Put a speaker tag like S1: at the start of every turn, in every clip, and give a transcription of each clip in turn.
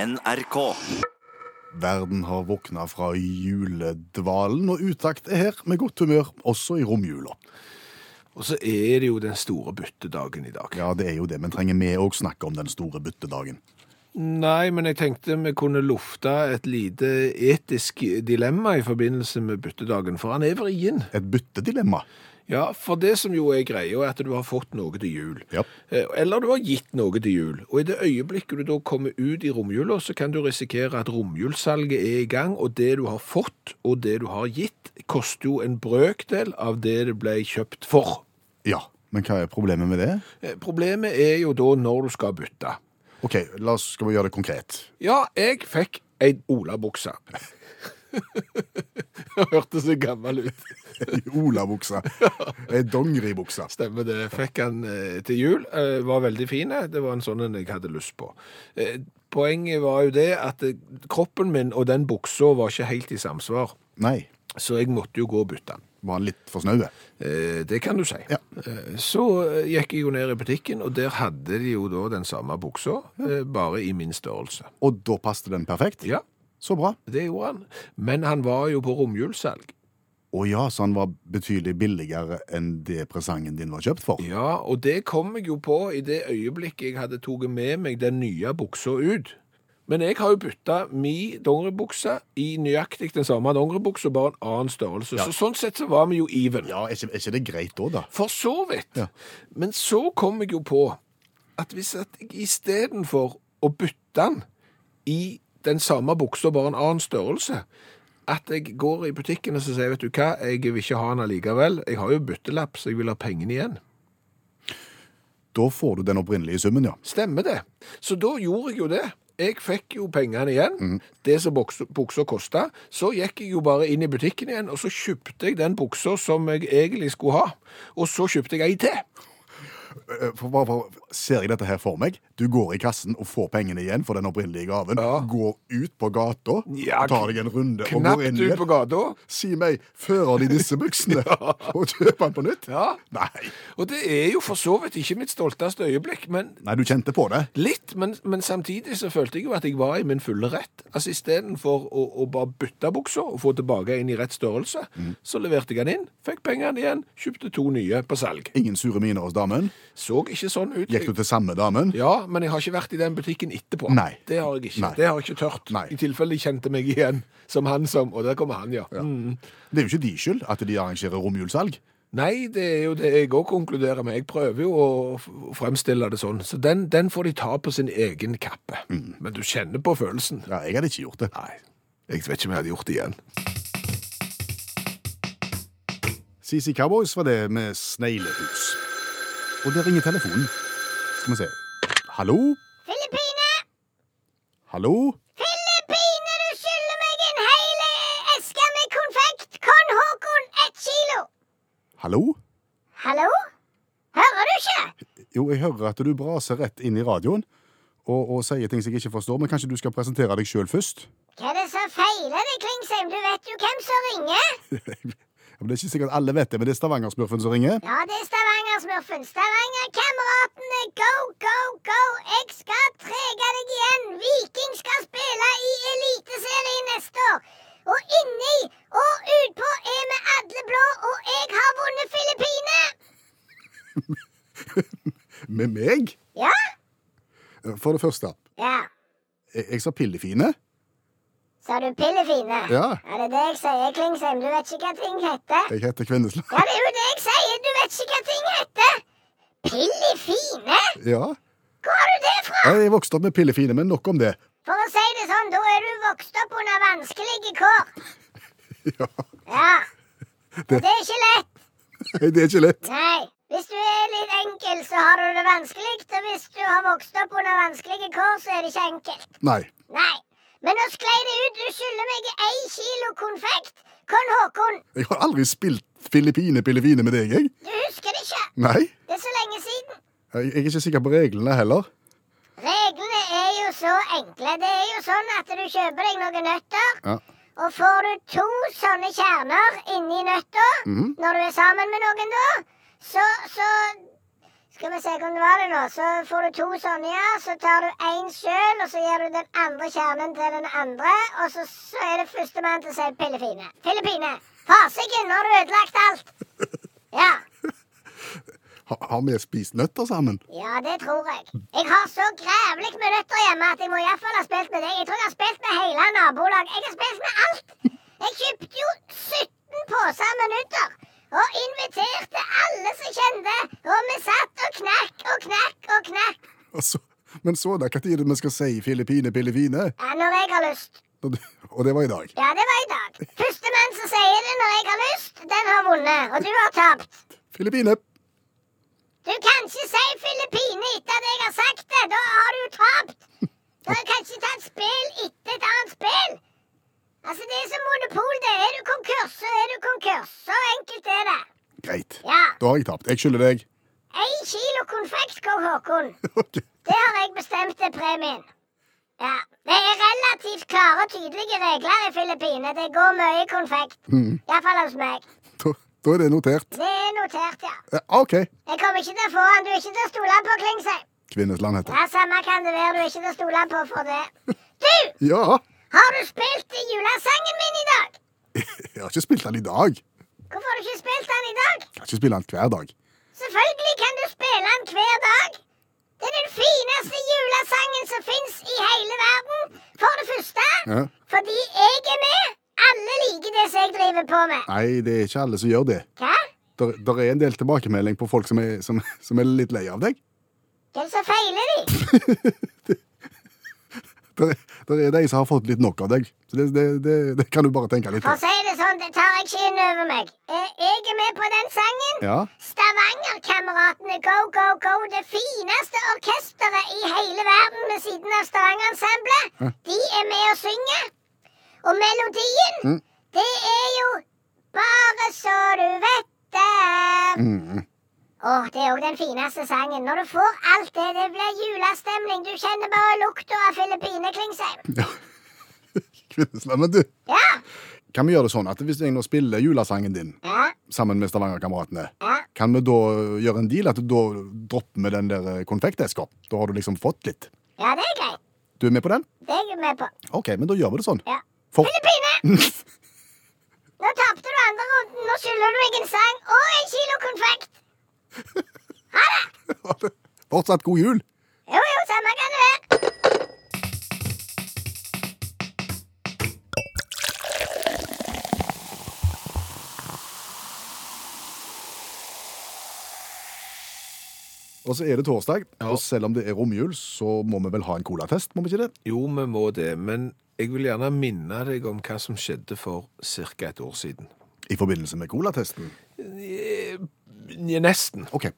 S1: NRK.
S2: Verden har våkna fra juledvalen, og utakt er her med godt humør, også i romjula.
S3: Og så er det jo den store byttedagen i dag.
S2: Ja, det er jo det, men trenger vi òg snakke om den store byttedagen?
S3: Nei, men jeg tenkte vi kunne lufte et lite etisk dilemma i forbindelse med byttedagen, for han er vrien.
S2: Et byttedilemma?
S3: Ja, for det som jo er greia, er at du har fått noe til jul.
S2: Ja.
S3: Eh, Eller du har gitt noe til jul. Og i det øyeblikket du da kommer ut i romjula, så kan du risikere at romjulssalget er i gang, og det du har fått, og det du har gitt, koster jo en brøkdel av det det ble kjøpt for.
S2: Ja, men hva er problemet med det?
S3: Eh, Problemet er jo da når du skal bytte.
S2: OK, la oss skal vi gjøre det konkret.
S3: Ja, jeg fikk ei olabukse. Jeg hørte så gammel ut.
S2: Ei olabukse. Ei dongeribukse.
S3: Stemmer det. Fikk han eh, til jul. Eh, var veldig fin. Det var en sånn en jeg hadde lyst på. Eh, poenget var jo det at eh, kroppen min og den buksa var ikke helt i samsvar,
S2: Nei,
S3: så jeg måtte jo gå og bytte den.
S2: var han litt for snau?
S3: Eh, Det kan du si.
S2: Ja.
S3: Eh, Så eh, gikk jeg jo ned i butikken, og der hadde de jo da den samme buksa, eh, bare i min størrelse.
S2: Og da passet den perfekt?
S3: Ja,
S2: Så bra.
S3: det gjorde han. Men han var jo på romjulssalg.
S2: Å ja, så han var betydelig billigere enn det presangen din var kjøpt for?
S3: Ja, og det kom jeg jo på i det øyeblikket jeg hadde tatt med meg den nye buksa ut. Men jeg har jo bytta mi dongeribukse i nøyaktig den samme dongeribuksa, bare en annen størrelse. Så sånn sett så var vi jo even.
S2: Ja, er ikke, er ikke det greit da, da?
S3: For så vidt.
S2: Ja.
S3: Men så kom jeg jo på at hvis at jeg istedenfor å bytte den i den samme buksa, bare en annen størrelse, at jeg går i butikken og så sier vet du hva, jeg vil ikke ha den allikevel. Jeg har jo byttelapp, så jeg vil ha pengene igjen.
S2: Da får du den opprinnelige summen, ja.
S3: Stemmer det. Så da gjorde jeg jo det. Jeg fikk jo pengene igjen,
S2: Mm.
S3: det som boks- buksa kosta. Så gikk jeg jo bare inn i butikken igjen, og så kjøpte jeg den buksa som jeg egentlig skulle ha. Og så kjøpte jeg ei til.
S2: Eh, For, for, for, ser jeg dette her for meg? Du går i kassen og får pengene igjen for den opprinnelige gaven.
S3: Ja.
S2: Går ut på gata,
S3: Ja,
S2: og tar deg en runde og går
S3: Knapt
S2: inn
S3: ut
S2: igjen.
S3: på gata.
S2: Si meg, fører de disse buksene og kjøper den på nytt?
S3: Ja.
S2: Nei.
S3: Og det er jo for så vidt ikke mitt stolteste øyeblikk, men
S2: Nei, du kjente på det.
S3: litt. Men, men samtidig så følte jeg jo at jeg var i min fulle rett. Altså istedenfor å, å bare bytte buksa og få tilbake en i rett størrelse,
S2: Mm.
S3: så leverte jeg den inn, fikk pengene igjen, kjøpte to nye på salg.
S2: Ingen sure miner hos damen.
S3: Så ikke sånn ut.
S2: Gikk du til samme damen?
S3: Ja, men jeg har ikke vært i den butikken etterpå.
S2: Nei.
S3: Det har jeg ikke.
S2: Nei.
S3: Det har jeg ikke tørt.
S2: Nei.
S3: I tilfelle de kjente meg igjen som han som Og der kommer han, ja. Mm.
S2: Det er jo ikke de skyld at de arrangerer romjulssalg.
S3: Nei, det er jo det jeg òg konkluderer med. Jeg prøver jo å f- å fremstille det sånn. Så den, den får de ta på sin egen kappe. Men du kjenner på følelsen.
S2: Ja, jeg hadde ikke gjort det.
S3: Nei, jeg vet ikke om jeg hadde gjort det igjen.
S2: CC Cowboys var det med sneglehus. Og der ringer telefonen. Skal vi se. Hallo?
S4: Filippine!
S2: Hallo?
S4: Filippine, du skylder meg en hel eh, eske med konfekt! Kon Håkon, ett kilo!
S2: Hallo?
S4: Hallo? Hører du ikke?
S2: Jo, jeg hører at du braser rett inn i radioen og, og sier ting som jeg ikke forstår, men kanskje du skal presentere deg sjøl først?
S4: Hva er det som feiler deg, Klingsheim? Du vet jo hvem som ringer?
S2: Ja, men det er ikke sikkert alle vet det, men det er Stavangersmurfen som ringer.
S4: Ja, det er Stavanger-smurfen. Stavanger-kameratene, go, go, go! Jeg skal trege deg igjen! Viking skal spille i Eliteserien neste år! Og inni og utpå er vi alle blå, og jeg har vunnet Filippine!
S2: Med meg?
S4: Ja?
S2: For det første,
S4: Ja.
S2: jeg, jeg sa pillefine.
S4: Sa du pillefine?
S2: Ja.
S4: Er det det jeg sier, Klingsheim? Du vet ikke hva ting heter?
S2: Jeg heter Kvinnesland.
S4: Ja, det er jo det jeg sier! Du vet ikke hva ting heter! Pillefine?
S2: Ja.
S4: Hvor har du det fra?
S2: Jeg vokste opp med pillefine, men nok om det.
S4: For å si det sånn, da er du vokst opp under vanskelige kår.
S2: Ja,
S4: Ja. Og det er ikke lett.
S2: Det er ikke lett.
S4: Nei. Hvis du er litt enkel, så har du det vanskelig. Og hvis du har vokst opp under vanskelige kår, så er det ikke enkelt.
S2: Nei.
S4: Nei. Men nå sklei det ut. Du skylder meg ei kilo konfekt. Kon Håkon,
S2: Jeg har aldri spilt Filippine-pillefine med deg, jeg.
S4: du husker det ikke?
S2: Nei.
S4: Det er så lenge siden.
S2: Jeg jeg er ikke sikker på reglene heller.
S4: Reglene er jo så enkle. Det er jo sånn at du kjøper deg noen nøtter,
S2: Ja.
S4: og får du to sånne kjerner inni nøtta når du er sammen med noen, da, så, så Skal vi se hvordan var det nå. Så får du to sånne, ja. Så tar du én sjøl, og så gir du den andre kjernen til den andre. Og så, så er det førstemann til å si pillefine. Filippine! Fasiken, nå har du ødelagt alt! Ja.
S2: Ha, har vi spist nøtter sammen?
S4: Ja, det tror jeg. Jeg har så grævlig med nøtter hjemme at jeg må iallfall ha spilt med deg. Jeg tror jeg har spilt med hele nabolaget. Jeg har spilt med alt. Jeg kjøpte jo 17 poser med nøtter. Og inviterte alle som kjente. Og vi satt og knakk og knakk og knakk.
S2: Og så- men så, da, hva tid er det vi skal si Filippine, Pillefine?
S4: Ja, når jeg har lyst.
S2: Og det- Og det var i dag.
S4: Ja, det var i dag. Førstemann som sier det når jeg har lyst, den har vunnet. Og du har tapt.
S2: Filippine!
S4: Du kan ikke si Filippine etter at jeg har sagt det. Da har du jo tapt. Du kan ikke ta et spill etter et annet spill. Altså, det er som monopol, det. Er du konkurs, så er du konkurs. Så enkelt er det.
S2: Greit.
S4: Ja.
S2: Da har jeg tapt. Jeg skylder deg.
S4: Én kilo konfekt, Kong Håkon.
S2: Ok.
S4: Det har jeg bestemt er premien. Ja. Det er relativt klare og tydelige regler i Filippine. Det går mye konfekt. Iallfall hos meg.
S2: Da, da er det notert.
S4: Det er notert, ja.
S2: Eh, OK.
S4: Jeg kommer ikke til å få han. Du er ikke til å stole på, Klingsheim.
S2: Kvinnesland heter det.
S4: Ja, samme kan det være du er ikke til å stole på for det. Du,
S2: Ja.
S4: har du spilt julesangen min i dag?
S2: Jeg har ikke spilt den i dag.
S4: Hvorfor har du ikke spilt den i dag?
S2: Jeg har ikke spilt den hver dag.
S4: Selvfølgelig kan du spille den hver dag. Det er den fineste julesangen som fins i hele verden. For det første
S2: Ja.
S4: fordi jeg er med. Alle liker det som jeg driver på med.
S2: Nei, det er ikke alle som gjør det.
S4: Hva?
S2: Der, der er en del tilbakemelding på folk som er, som, som er litt lei av deg.
S4: Hva er det som feiler de?
S2: Der, der er de som har fått litt nok av deg. Så det, det, det, det kan du bare tenke litt
S4: For
S2: på.
S4: å si det sånn, det tar jeg ikke inn over meg. Eh, Jeg er med på den sangen.
S2: Ja.
S4: Stavangerkameratene Go Go Go, det fineste orkesteret i hele verden ved siden av Stavangerensemblet, de er med og synger. Og melodien,
S2: Mm.
S4: det er jo Bare så du vet det.
S2: Mm.
S4: Å, det er òg den fineste sangen. Når du får alt det, det blir julestemning. Du kjenner bare lukta av Filippine Klingsheim.
S2: ja. Kvinnesland. Men du,
S4: Ja.
S2: kan vi gjøre det sånn at hvis jeg nå spiller julesangen din
S4: Ja.
S2: sammen med Stavangerkameratene,
S4: Ja.
S2: kan vi da gjøre en deal at du da dropper med den der eh, konfekteska? Da har du liksom fått litt.
S4: Ja, det er greit.
S2: Du er med på den?
S4: Det er jeg med på.
S2: OK, men da gjør vi det sånn.
S4: Ja.
S2: For...
S4: Filippine! Nå tapte du andre runden. Nå skylder du meg en sang og en kilo konfekt.
S2: Fortsatt god jul!
S4: Jo, jo, samme kan det være.
S2: Og så er det torsdag,
S3: Ja.
S2: og selv om det er romjul, så må vi vel ha en colatest, må vi ikke det?
S3: Jo, vi må det, men jeg vil gjerne minne deg om hva som skjedde for ca. et år siden.
S2: I forbindelse med colatesten.
S3: Eh, nje, Nesten.
S2: OK.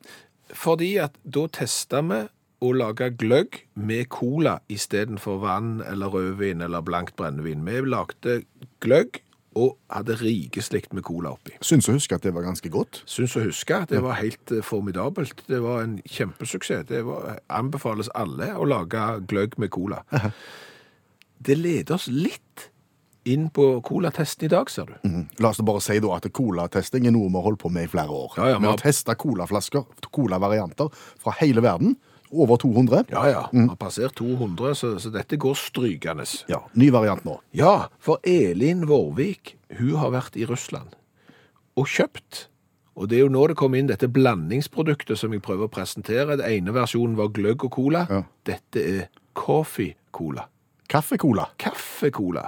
S3: Fordi at da testa vi å lage gløgg med cola istedenfor vann eller rødvin eller blankt brennevin. Vi lagde gløgg og hadde rikeslikt med cola oppi.
S2: Syns å huske at det var ganske godt.
S3: Syns å huske at det var helt eh, formidabelt. Det var en kjempesuksess. Det var, anbefales alle å lage gløgg med cola. Det leder oss litt inn på colatesten i dag, ser du.
S2: Mhm. La oss da bare si da at colatesting er noe vi har holdt på med i flere år.
S3: Ja, ja,
S2: vi
S3: men-
S2: har testa colaflasker, colavarianter, fra hele verden. Over 200.
S3: Ja ja, vi har passert 200, så, så dette går strykende.
S2: Ja, Ny variant nå.
S3: Ja, for Elin Vårvik, hun har vært i Russland og kjøpt. Og det er jo nå det kom inn dette blandingsproduktet som jeg prøver å presentere. Den ene versjonen var gløgg og cola.
S2: Ja.
S3: Dette er coffee-cola.
S2: Kaffecola.
S3: Kaffekola.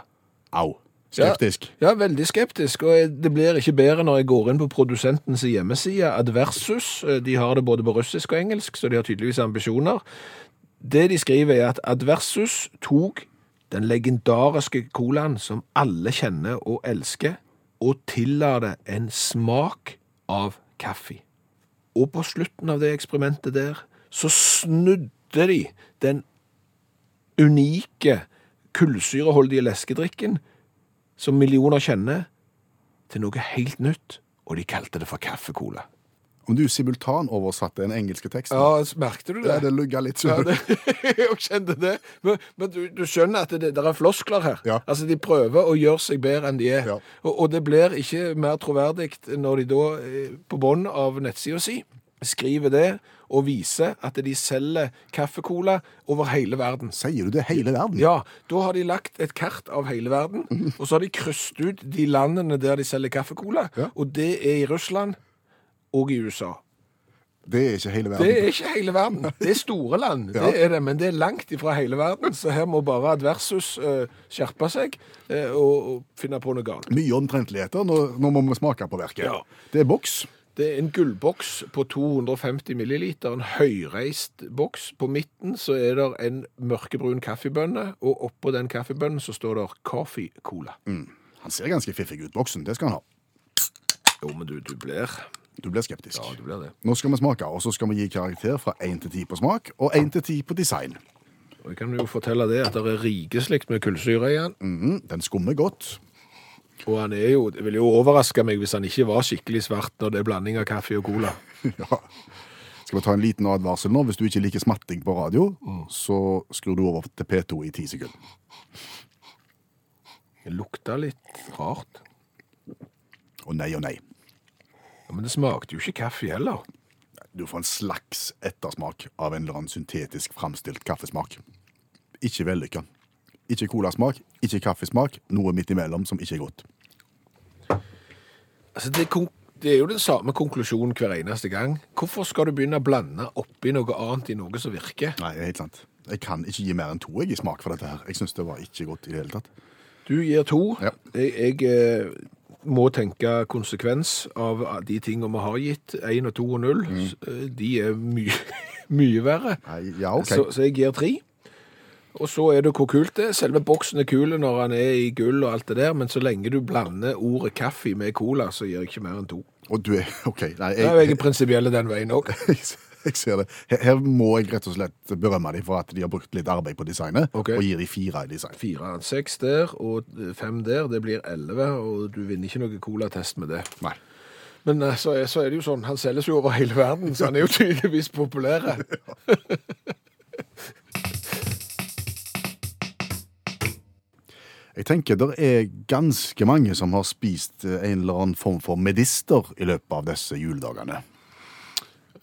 S2: Au. Skeptisk.
S3: Ja, veldig skeptisk, og det blir ikke bedre når jeg går inn på produsentens hjemmeside, Adversus. Eh, De har det både på russisk og engelsk, så de har tydeligvis ambisjoner. Det de skriver er at Adversus tok den legendariske colaen som alle kjenner og elsker, og tilla det en smak av kaffe. Og på slutten av det eksperimentet der, så snudde de den unike kullsyreholdige leskedrikken som millioner kjenner, til noe helt nytt, og de kalte det for kaffekola.
S2: Om du simultanoversatte en engelsk tekst nå.
S3: Ja, merkte du det?
S2: Ja, det lugga litt.
S3: Ja,
S2: så-
S3: det, jeg kjente det. Men, men du, du skjønner at det, det er floskler her.
S2: Ja.
S3: Altså, De prøver å gjøre seg bedre enn de er.
S2: Ja.
S3: Og, og det blir ikke mer troverdig når de da, eh, på bunnen av nettsida si, skriver det og viser at de selger kaffekola over hele verden.
S2: Sier du det hele verden? Mhm.
S3: Ja, da har de lagt et kart av hele verden, og så har de krysset ut de landene der de selger kaffekola,
S2: Ja.
S3: og det er i Russland og i USA.
S2: Det er ikke hele verden.
S3: Det er ikke hele verden. Det er store land,
S2: Ja.
S3: det er det, men det er langt ifra hele verden, så her må bare Adversus eh, skjerpe seg eh, og, og finne på noe galt.
S2: Mye omtrentligheter. Nå, nå må vi smake på verket.
S3: Ja.
S2: Det er boks.
S3: Det er en gullboks på 250 milliliter, en høyreist boks. På midten så er det en mørkebrun kaffebønne, og oppå den kaffebønnen så står det Coffee Cola.
S2: Mm. Han ser ganske fiffig ut, boksen. Det skal han ha.
S3: Jo, men du, du blir
S2: Du blir skeptisk.
S3: Ja, du blir det.
S2: Nå skal vi smake, og så skal vi gi karakter fra 1 til 10 på smak og 1 til 10 på design.
S3: Og jeg kan jo fortelle det at det er rikeslikt med kullsyre i den,
S2: Mhm, den skummer godt.
S3: og han er jo, det ville jo overraske meg hvis han ikke var skikkelig svart når det er blanding av kaffe og cola.
S2: ja. Skal vi ta en liten advarsel nå? Hvis du ikke liker smatting på radio,
S3: Mm.
S2: så skrur du over til P2 i 10 sekunder.
S3: Det lukta litt rart,
S2: Og nei og nei.
S3: ja, men det smakte jo ikke kaffe heller.
S2: Du får en slags ettersmak av en eller annen syntetisk framstilt kaffesmak. Ikke vellykka. Ikke colasmak, ikke kaffesmak, noe midt imellom som ikke er godt.
S3: Altså, det, er kon- det er jo den samme konklusjonen hver eneste gang. Hvorfor skal du begynne å blande oppi noe annet i noe som virker?
S2: Nei, det er helt sant. Jeg kan ikke gi mer enn to jeg, i smak for dette her. Jeg syns det var ikke godt i det hele tatt.
S3: Du gir to.
S2: Ja.
S3: Jeg, jeg eh, må tenke konsekvens av de tingene vi har gitt. Én og to og null. S- eh, De er mye, mye verre.
S2: Mm. Nei, ja, OK.
S3: Så, så jeg gir tre. Og så er det hvor kult det er. Selve boksen er kul når han er i gull og alt det der, men så lenge du blander ordet kaffe med cola, så gir jeg ikke mer enn to.
S2: Og du er OK. Nei,
S3: Da er
S2: jeg,
S3: jeg prinsipielle den veien òg.
S2: jeg ser det. Her, her må jeg rett og slett berømme dem for at de har brukt litt arbeid på designet,
S3: Ok.
S2: og gir de fire i design.
S3: Fire, seks der, og eh, fem der. Det blir elleve, og du vinner ikke noe colatest med det.
S2: Nei.
S3: Men eh, så er, så er det jo sånn, han selges jo over hele verden, så han er jo tydeligvis populær.
S2: Jeg tenker det er ganske mange som har spist eh, en eller annen form for medister i løpet av disse juledagene.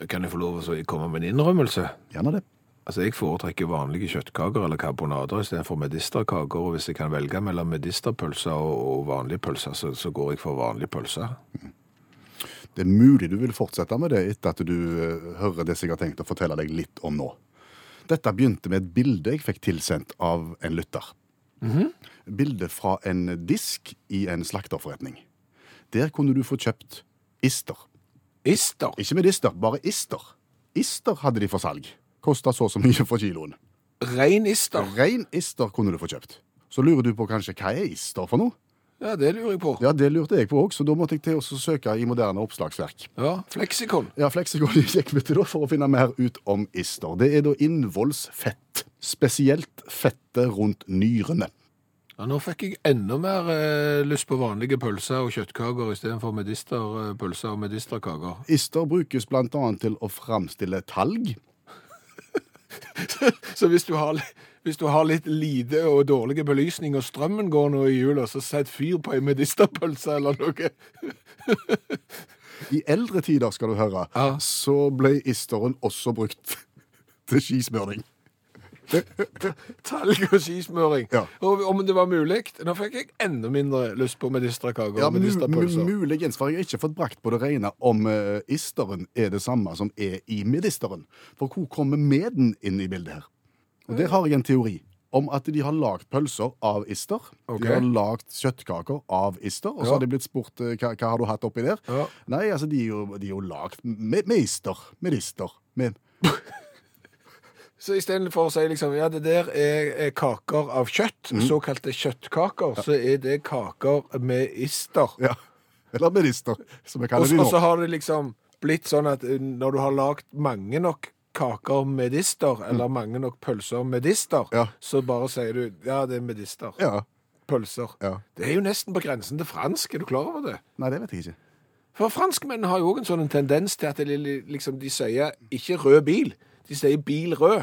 S3: Kan jeg få lov til å komme med en innrømmelse?
S2: Gjerne det.
S3: Altså, Jeg foretrekker vanlige kjøttkaker eller karbonader istedenfor medisterkaker. Og hvis jeg kan velge mellom medisterpølser og, og vanlige pølser, så, så går jeg for vanlige pølser.
S2: Det er mulig du vil fortsette med det etter at du eh, hører det som jeg har tenkt å fortelle deg litt om nå. Dette begynte med et bilde jeg fikk tilsendt av en lytter. Bildet fra en disk i en slakterforretning. Der kunne du få kjøpt ister.
S3: Ister?
S2: Ikke medister, bare ister. Ister hadde de for salg. Kosta så og så mye for kiloen.
S3: Rein ister?
S2: Rein ister kunne du få kjøpt. Så lurer du på kanskje hva er ister for noe?
S3: Ja, det lurer jeg på.
S2: Ja, det lurte jeg på òg, så da måtte jeg til å søke i moderne oppslagsverk.
S3: Ja, Fleksikon.
S2: Ja, Fleksikon gikk vi til da for å finne mer ut om ister. Det er da innvollsfett. Spesielt fettet rundt nyrene.
S3: Ja, nå fikk jeg enda mer eh, lyst på vanlige pølser og kjøttkaker istedenfor medisterpølser og medisterkaker.
S2: Ister brukes blant annet til å framstille talg.
S3: Så hvis du har, hvis du har litt lite og dårlig belysning, og strømmen går nå i jula, så sett fyr på ei medisterpølse eller noe.
S2: I eldre tider, skal du høre,
S3: Ja.
S2: så ble isteren også brukt til skismøring.
S3: Talg og skismøring.
S2: Ja.
S3: Og om det var mulig. Nå fikk jeg enda mindre lyst på medisterkaker
S2: Ja,
S3: og
S2: mu- mu-
S3: medisterpølser.
S2: Muligens, for jeg har ikke fått brakt på det rene om eh, isteren er det samme som er i medisteren. For hvor kommer meden inn i bildet her? Og Der har jeg en teori om at de har lagd pølser av ister.
S3: Ok.
S2: De har lagd kjøttkaker av ister. Og så
S3: Ja.
S2: har de blitt spurt eh, hva, hva har du hatt oppi der.
S3: Ja.
S2: Nei, altså, de er jo, de er jo lagd med, med ister. Med ister. Med,
S3: Så istedenfor å si liksom, ja, det der er, er kaker av kjøtt,
S2: Mhm.
S3: såkalte kjøttkaker, så er det kaker med ister.
S2: ja. Eller med ister, som jeg
S3: Og
S2: kaller
S3: så-
S2: det
S3: og
S2: nå.
S3: så har det liksom blitt sånn at eh, når du har lagd mange nok kaker med ister, eller mange nok pølser med ister,
S2: Mm. Ja.
S3: så bare sier du ja, det er med ister.
S2: Ja.
S3: Pølser.
S2: Ja.
S3: Det er jo nesten på grensen til fransk, er du klar over det?
S2: Nei, det vet jeg ikke.
S3: For franskmenn har jo òg en sånn en tendens til at de, li- liksom, de sier ikke rød bil, de sier bil rød.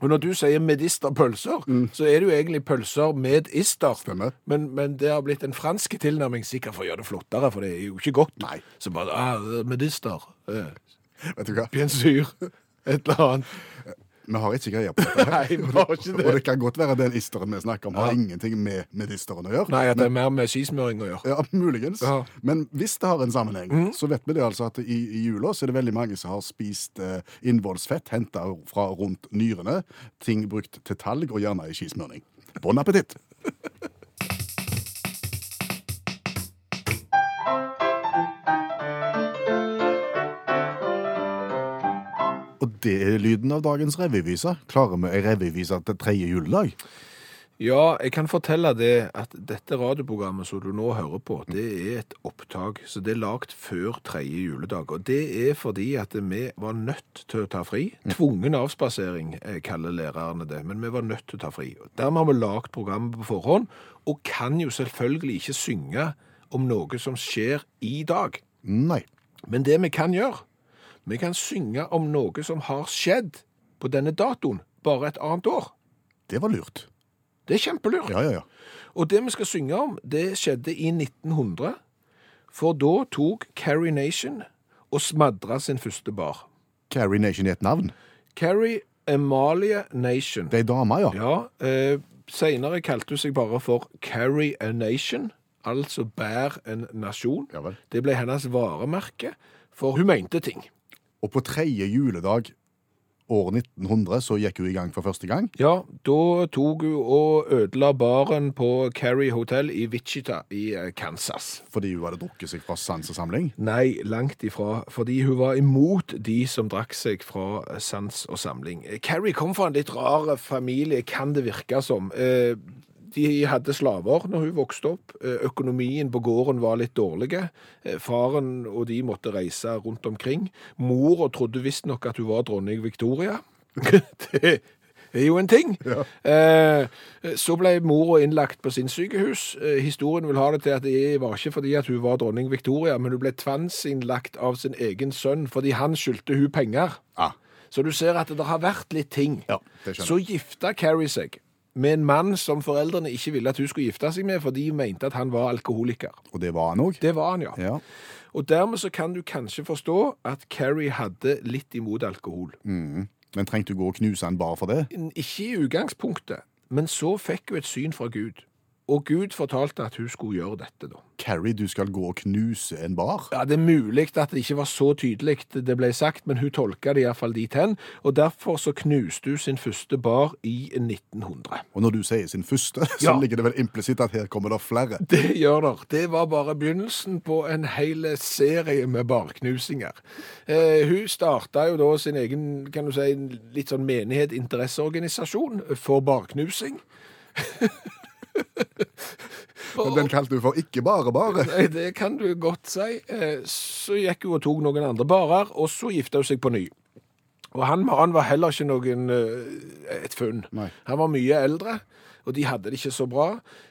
S3: Og når du sier medisterpølser, så er det jo egentlig pølser med ister.
S2: Mm. Stemmer.
S3: Men, men det har blitt en fransk tilnærming, sikkert for å gjøre det flottere, for det er jo ikke godt.
S2: Nei.
S3: Så bare ah, medister. eh,
S2: Vet du hva?
S3: Bensyr. Et eller annet.
S2: Vi har ikke greie på dette.
S3: Nei, vi har ikke det.
S2: Og det kan godt være den isteren vi snakker om, har
S3: Ja.
S2: ingenting med medisteren å gjøre.
S3: Nei, at det er mer med skismøring å gjøre.
S2: Ja, muligens.
S3: Ja.
S2: Men hvis det har en sammenheng, så vet vi det altså at i, i jula så er det veldig mange som har spist eh, innvollsfett henta fra rundt nyrene. Ting brukt til talg, og gjerne i skismøring. Bon appetitt! Og det er lyden av dagens revyvise. Klarer vi ei revyvise til tredje juledag?
S3: Ja, jeg kan fortelle det at dette radioprogrammet som du nå hører på, det er et opptak. Så det er lagt før tredje juledag. Og det er fordi at vi var nødt til å ta fri. Tvungen avspasering, eh, kaller lærerne det. Men vi var nødt til å ta fri. Og Dermed har vi lagt programmet på forhånd, og kan jo selvfølgelig ikke synge om noe som skjer i dag.
S2: Nei.
S3: Men det vi kan gjøre, vi kan synge om noe som har skjedd på denne datoen, bare et annet år.
S2: Det var lurt.
S3: Det er kjempelurt.
S2: Ja, ja, ja.
S3: Og det vi skal synge om, det skjedde i 1900, for da tok Carrie Nation og smadra sin første bar.
S2: Carrie Nation er et navn.
S3: Carrie Amalie Nation.
S2: Det er ei dame, ja.
S3: Ja, eh, senere kalte hun seg bare for Carrie a Nation, altså bær en nasjon.
S2: Ja vel.
S3: Det ble hennes varemerke, for hun mente ting.
S2: Og på tredje juledag år 1900 så gikk hun i gang for første gang.
S3: Ja, da tok hun og ødela baren på Carrie Hotel i Wichita i eh, Kansas.
S2: Fordi hun hadde drukket seg fra sans og samling.
S3: Nei, langt ifra, fordi hun var imot de som drakk seg fra eh, sans og samling. Eh, Carrie kom fra en litt rar familie, kan det virke som. Eh, De hadde slaver når hun vokste opp. Eh, Økonomien på gården var litt dårlig. Eh, Faren og de måtte reise rundt omkring. Mora trodde visstnok at hun var dronning Victoria. det er jo en ting. Eh, så ble mora innlagt på sinnssykehus. Eh, historien vil ha det til at det var ikke fordi at hun var dronning Victoria, men hun ble tvangsinnlagt av sin egen sønn fordi han skyldte hun penger.
S2: Ah,
S3: Så du ser at det har vært litt ting.
S2: Ja, det skjønner
S3: så gifta Carrie seg med en mann som foreldrene ikke ville at hun skulle gifte seg med, for de mente at han var alkoholiker.
S2: og det var han òg.
S3: Det var han, ja.
S2: Ja.
S3: Og dermed så kan du kanskje forstå at Carrie hadde litt imot alkohol.
S2: Mm. Men trengte hun gå og knuse han bare for det?
S3: Ikke i utgangspunktet, men så fikk hun et syn fra Gud. Og Gud fortalte at hun skulle gjøre dette, da.
S2: Carrie, du skal gå og knuse en bar?
S3: Ja, Det er mulig at det ikke var så tydelig det ble sagt, men hun tolka det iallfall dit hen. Og derfor så knuste hun sin første bar i 1900.
S2: Og når du sier sin første, så
S3: Ja.
S2: ligger det vel implisitt at her kommer det flere.
S3: Det gjør der. Det var bare begynnelsen på en hel serie med barknusinger. Eh, hun starta jo da sin egen kan du si, en litt sånn menighet, interesseorganisasjon, for barknusing.
S2: Men den kalte hun for ikke bare bare.
S3: Nei, det kan du godt si. Eh, Så gikk hun og tok noen andre barer, og så gifta hun seg på ny. Og han mannen var heller ikke noen eh, et funn.
S2: Nei.
S3: Han var mye eldre, og de hadde det ikke så bra.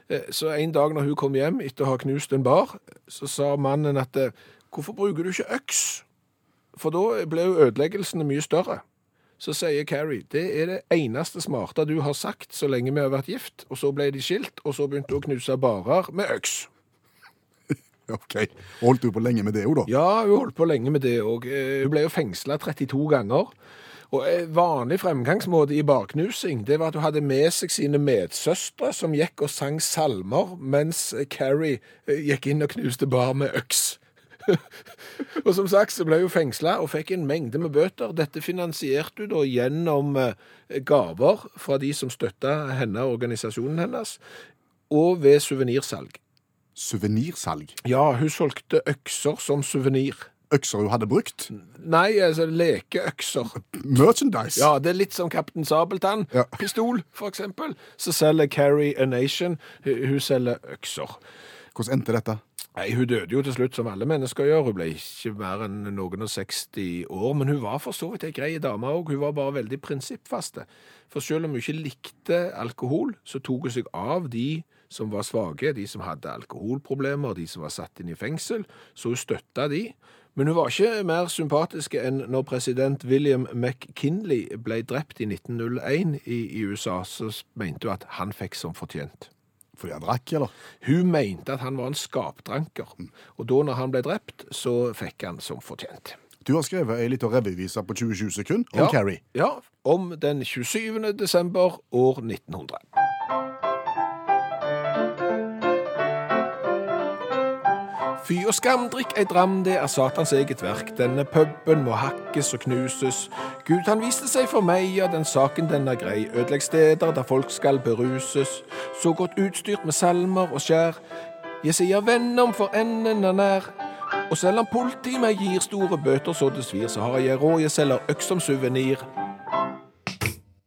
S3: Eh, Så en dag når hun kom hjem etter å ha knust en bar, så sa mannen at eh, hvorfor bruker du ikke øks? For da ble jo ødeleggelsene mye større. Så sier Carrie det er det eneste smarte du har sagt så lenge vi har vært gift. Og så ble de skilt, og så begynte hun å knuse barer med øks.
S2: Ok, Holdt hun på lenge med det, hun, da?
S3: Ja, hun holdt på lenge med det òg. Hun ble jo fengsla 32 ganger. Og eh, Vanlig fremgangsmåte i barknusing det var at hun hadde med seg sine medsøstre, som gikk og sang salmer, mens eh, Carrie eh, gikk inn og knuste bar med øks. og som sagt så ble hun fengsla og fikk en mengde med bøter. Dette finansierte hun da gjennom eh, gaver fra de som støtta henne og organisasjonen hennes, og ved suvenirsalg.
S2: Suvenirsalg?
S3: Ja, hun solgte økser som suvenir.
S2: Økser hun hadde brukt?
S3: Nei, altså lekeøkser.
S2: Merchandise?
S3: Ja, det er litt som Kaptein Sabeltann.
S2: Ja.
S3: Pistol, for eksempel. Så selger Carrie a Nation. Hun hun selger økser.
S2: Hvordan endte dette?
S3: Nei, hun døde jo til slutt, som alle mennesker gjør. Hun ble ikke mer enn noen og 60 år, men hun var for så vidt ei grei dame òg. Hun var bare veldig prinsippfaste. For selv om hun ikke likte alkohol, så tok hun seg av de som var svake, de som hadde alkoholproblemer, de som var satt inn i fengsel, så hun støtta de. Men hun var ikke mer sympatisk enn når president William McKinley ble drept i 1901 i, i USA, så mente hun at han fikk som fortjent.
S2: Fordi han drakk, eller?
S3: Hun
S2: Mm.
S3: mente at han var en skapdranker, og da når han ble drept, så fikk han som fortjent.
S2: Du har skrevet ei lita revyvise på 20-20 sekunder om
S3: Ja.
S2: Carrie.
S3: Ja, om den 27. desember år 1900. Fy og skam, drikk ei dram, det er Satans eget verk. Denne puben må hakkes og knuses. Gud, han viste seg for meg, ja, den saken den er grei. Ødelegg steder der folk skal beruses. Så godt utstyrt med salmer og skjær. Jeg sier venn om for enden er nær. Og selv om politiet meg gir store bøter så det svir, så har jeg råd, jeg selger øks som suvenir.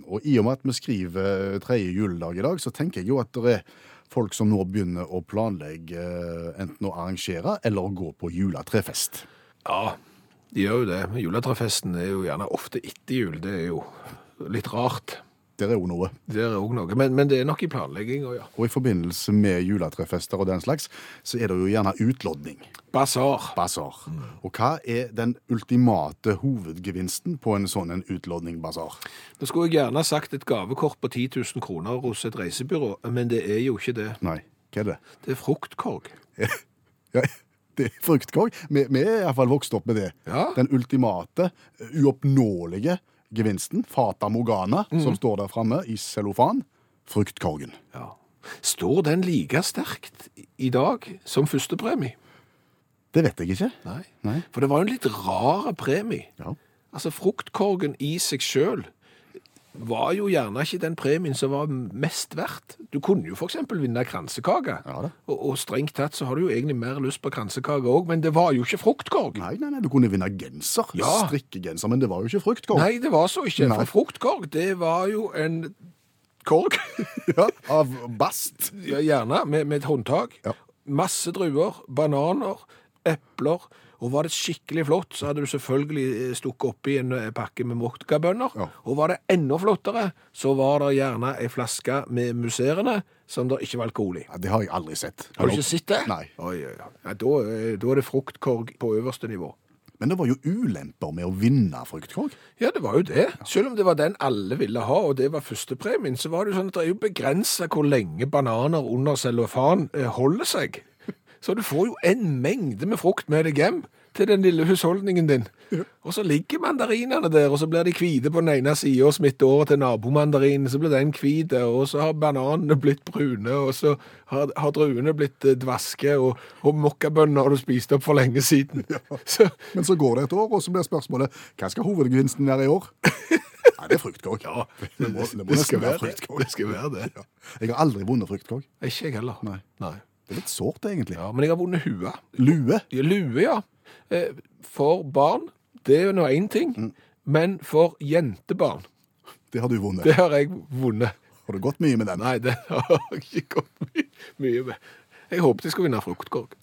S2: Og i og med at vi skriver tredje juledag i dag, så tenker jeg jo at det er folk som nå begynner å planlegge eh, enten å arrangere eller å gå på juletrefest.
S3: Ja, de gjør jo det. Men Juletrefesten er jo gjerne ofte etter jul. Det er jo litt rart.
S2: Der er jo noe.
S3: Det er òg noe. Men, men det er nok i planlegginga, ja.
S2: Og i forbindelse med juletrefester og den slags, så er det jo gjerne utlodning.
S3: Basar.
S2: Basar. Og hva er den ultimate hovedgevinsten på en sånn en utlodning-basar?
S3: Nå skulle jeg gjerne sagt et gavekort på 10 000 kroner hos et reisebyrå, men det er jo ikke det.
S2: Nei, hva er det?
S3: Det er fruktkorg.
S2: Ja, det er fruktkorg. Vi, vi er iallfall vokst opp med det.
S3: Ja.
S2: Den ultimate, uoppnåelige gevinsten, fata morgana,
S3: Mm.
S2: som står der framme i cellofan. Fruktkorgen.
S3: Ja. Står den like sterkt i dag som førstepremie?
S2: Det vet jeg ikke.
S3: Nei.
S2: Nei.
S3: For det var jo en litt rar premie.
S2: Ja.
S3: Altså, fruktkorgen i seg sjøl var jo gjerne ikke den premien som var mest verdt. Du kunne jo f.eks. vinne kransekake.
S2: Ja da.
S3: og, og strengt tatt så har du jo egentlig mer lyst på kransekake òg, men det var jo ikke fruktkorg.
S2: Nei, nei, nei, du kunne vinne genser.
S3: Ja.
S2: Strikkegenser, men det var jo ikke fruktkorg.
S3: Nei, det var så ikke.
S2: Nei.
S3: For fruktkorg, det var jo en korg,
S2: Ja, av bast.
S3: ja, gjerne, med, med et håndtak.
S2: Ja.
S3: Masse druer, bananer, epler. Og var det skikkelig flott, så hadde du selvfølgelig eh, stukket oppi en eh, pakke med mokkabønner.
S2: Ja.
S3: Og var det enda flottere, så var det gjerne ei flaske med musserende som det ikke var alkohol i.
S2: Ja, det har jeg aldri sett.
S3: Har du ikke sett det?
S2: Nei.
S3: Oi, oi, oi. Ja, da, eh, da er det fruktkorg på øverste nivå.
S2: Men det var jo ulemper med å vinne fruktkorg.
S3: Ja, det var jo det. Selv om det var den alle ville ha, og det var førstepremien, så var det jo sånn at det er jo begrensa hvor lenge bananer under cellofan eh, holder seg. Så du får jo en mengde med frukt med deg hjem til den lille husholdningen din. Og så ligger mandarinene der, og så blir de hvite på den ene sida og smitter over til nabomandarinen, så blir den hvit, og så har bananene blitt brune, og så har, har druene blitt eh, dvaske, og, og mokkabønner har du spist opp for lenge siden. Så,
S2: Men så går det et år, og så blir spørsmålet hva skal hovedgevinsten være i år? Nei, det er fruktkorg. Ja, det må, det må
S3: det
S2: nesten
S3: skal
S2: være
S3: være det.
S2: fruktkorg.
S3: Det skal være det.
S2: Ja. Jeg har aldri vunnet fruktkorg.
S3: Ikke jeg heller.
S2: Nei.
S3: Nei.
S2: Det er litt sårt, egentlig.
S3: Ja, men jeg har vunnet hue.
S2: Lue.
S3: Ja, Lue, ja. Eh, For barn, det er jo nå én ting. Men for jentebarn,
S2: Det har du vunnet.
S3: det har jeg vunnet.
S2: Har du gått mye med den?
S3: Nei, det har jeg ikke gått my mye med. Jeg håpet jeg skulle vinne fruktkorg.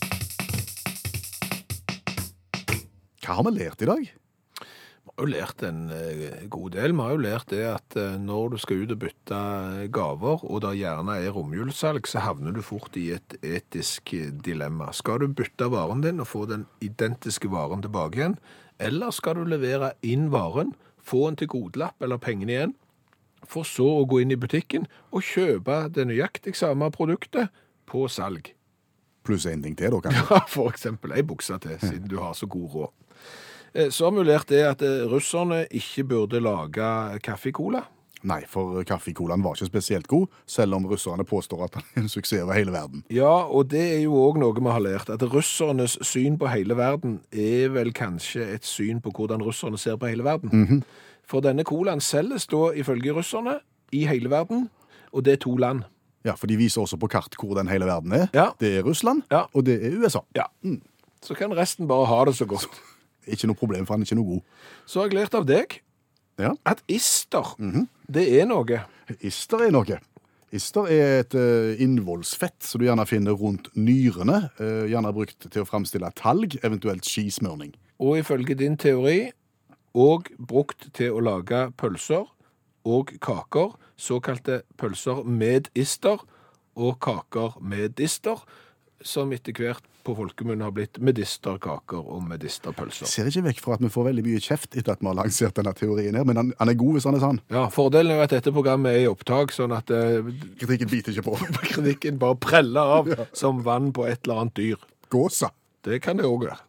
S2: Hva har vi lært i dag?
S3: Vi har jo lært en eh, god del. Vi har jo lært det at eh, når du skal ut og bytte eh, gaver, og det gjerne er romjulssalg, så havner du fort i et etisk eh, dilemma. Skal du bytte varen din og få den identiske varen tilbake igjen, eller skal du levere inn varen, få en til godlapp eller pengene igjen, for så å gå inn i butikken og kjøpe det nøyaktig samme produktet på salg?
S2: Pluss en ting til, da, kanskje.
S3: Ja, for eksempel ei bukse til, siden du har så god råd. Eh, Så har vi lært det at eh, russerne ikke burde lage kaffekola.
S2: Nei, for kaffekolaen var ikke spesielt god, selv om russerne påstår at den er en suksess over hele verden.
S3: Ja, og det er jo òg noe vi har lært, at russernes syn på hele verden er vel kanskje et syn på hvordan russerne ser på hele verden. For denne colaen selges da ifølge russerne i hele verden, og det er to land.
S2: Ja, For de viser også på kart hvor den hele verden er.
S3: Ja.
S2: Det er Russland,
S3: Ja.
S2: og det er USA.
S3: Ja. Så kan resten bare ha det så godt.
S2: Ikke noe problem, for han er ikke noe god.
S3: Så har jeg lært av deg
S2: Ja.
S3: at ister, det er noe.
S2: Ister er noe. Ister er et eh, innvollsfett som du gjerne finner rundt nyrene. eh, Gjerne brukt til å framstille talg, eventuelt skismørning.
S3: og ifølge din teori og brukt til å lage pølser og kaker, såkalte pølser med ister og kaker med dister, som etter hvert på folkemunne har blitt medisterkaker og medisterpølser.
S2: Ser ikke vekk fra at vi får veldig mye kjeft etter at vi har lansert denne teorien her, men han, han er god hvis han er sann.
S3: Ja, Fordelen er jo at dette programmet er i opptak, sånn at eh,
S2: Kritikken biter ikke på.
S3: kritikken bare preller av som vann på et eller annet dyr.
S2: Gåsa.
S3: Det kan det òg være.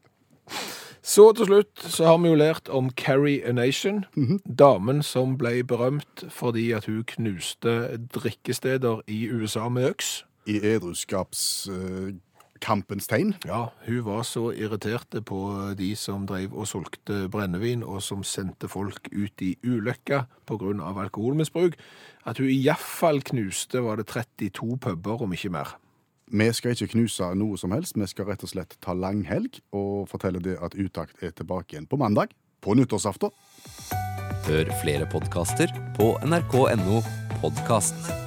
S3: Så til slutt så har vi jo lært om Carrie a Nation. Damen som ble berømt fordi at hun knuste drikkesteder i USA med øks.
S2: I edruskapskampens tegn.
S3: Ja, hun var så irriterte på de som drev og solgte brennevin, og som sendte folk ut i ulykka pga. alkoholmisbruk, at hun iallfall knuste var det 32 puber, om ikke mer.
S2: Vi skal ikke knuse noe som helst, vi skal rett og slett ta langhelg og fortelle det at Utakt er tilbake igjen på mandag, på nyttårsaften.
S1: Hør flere podkaster på nrk.no podkast.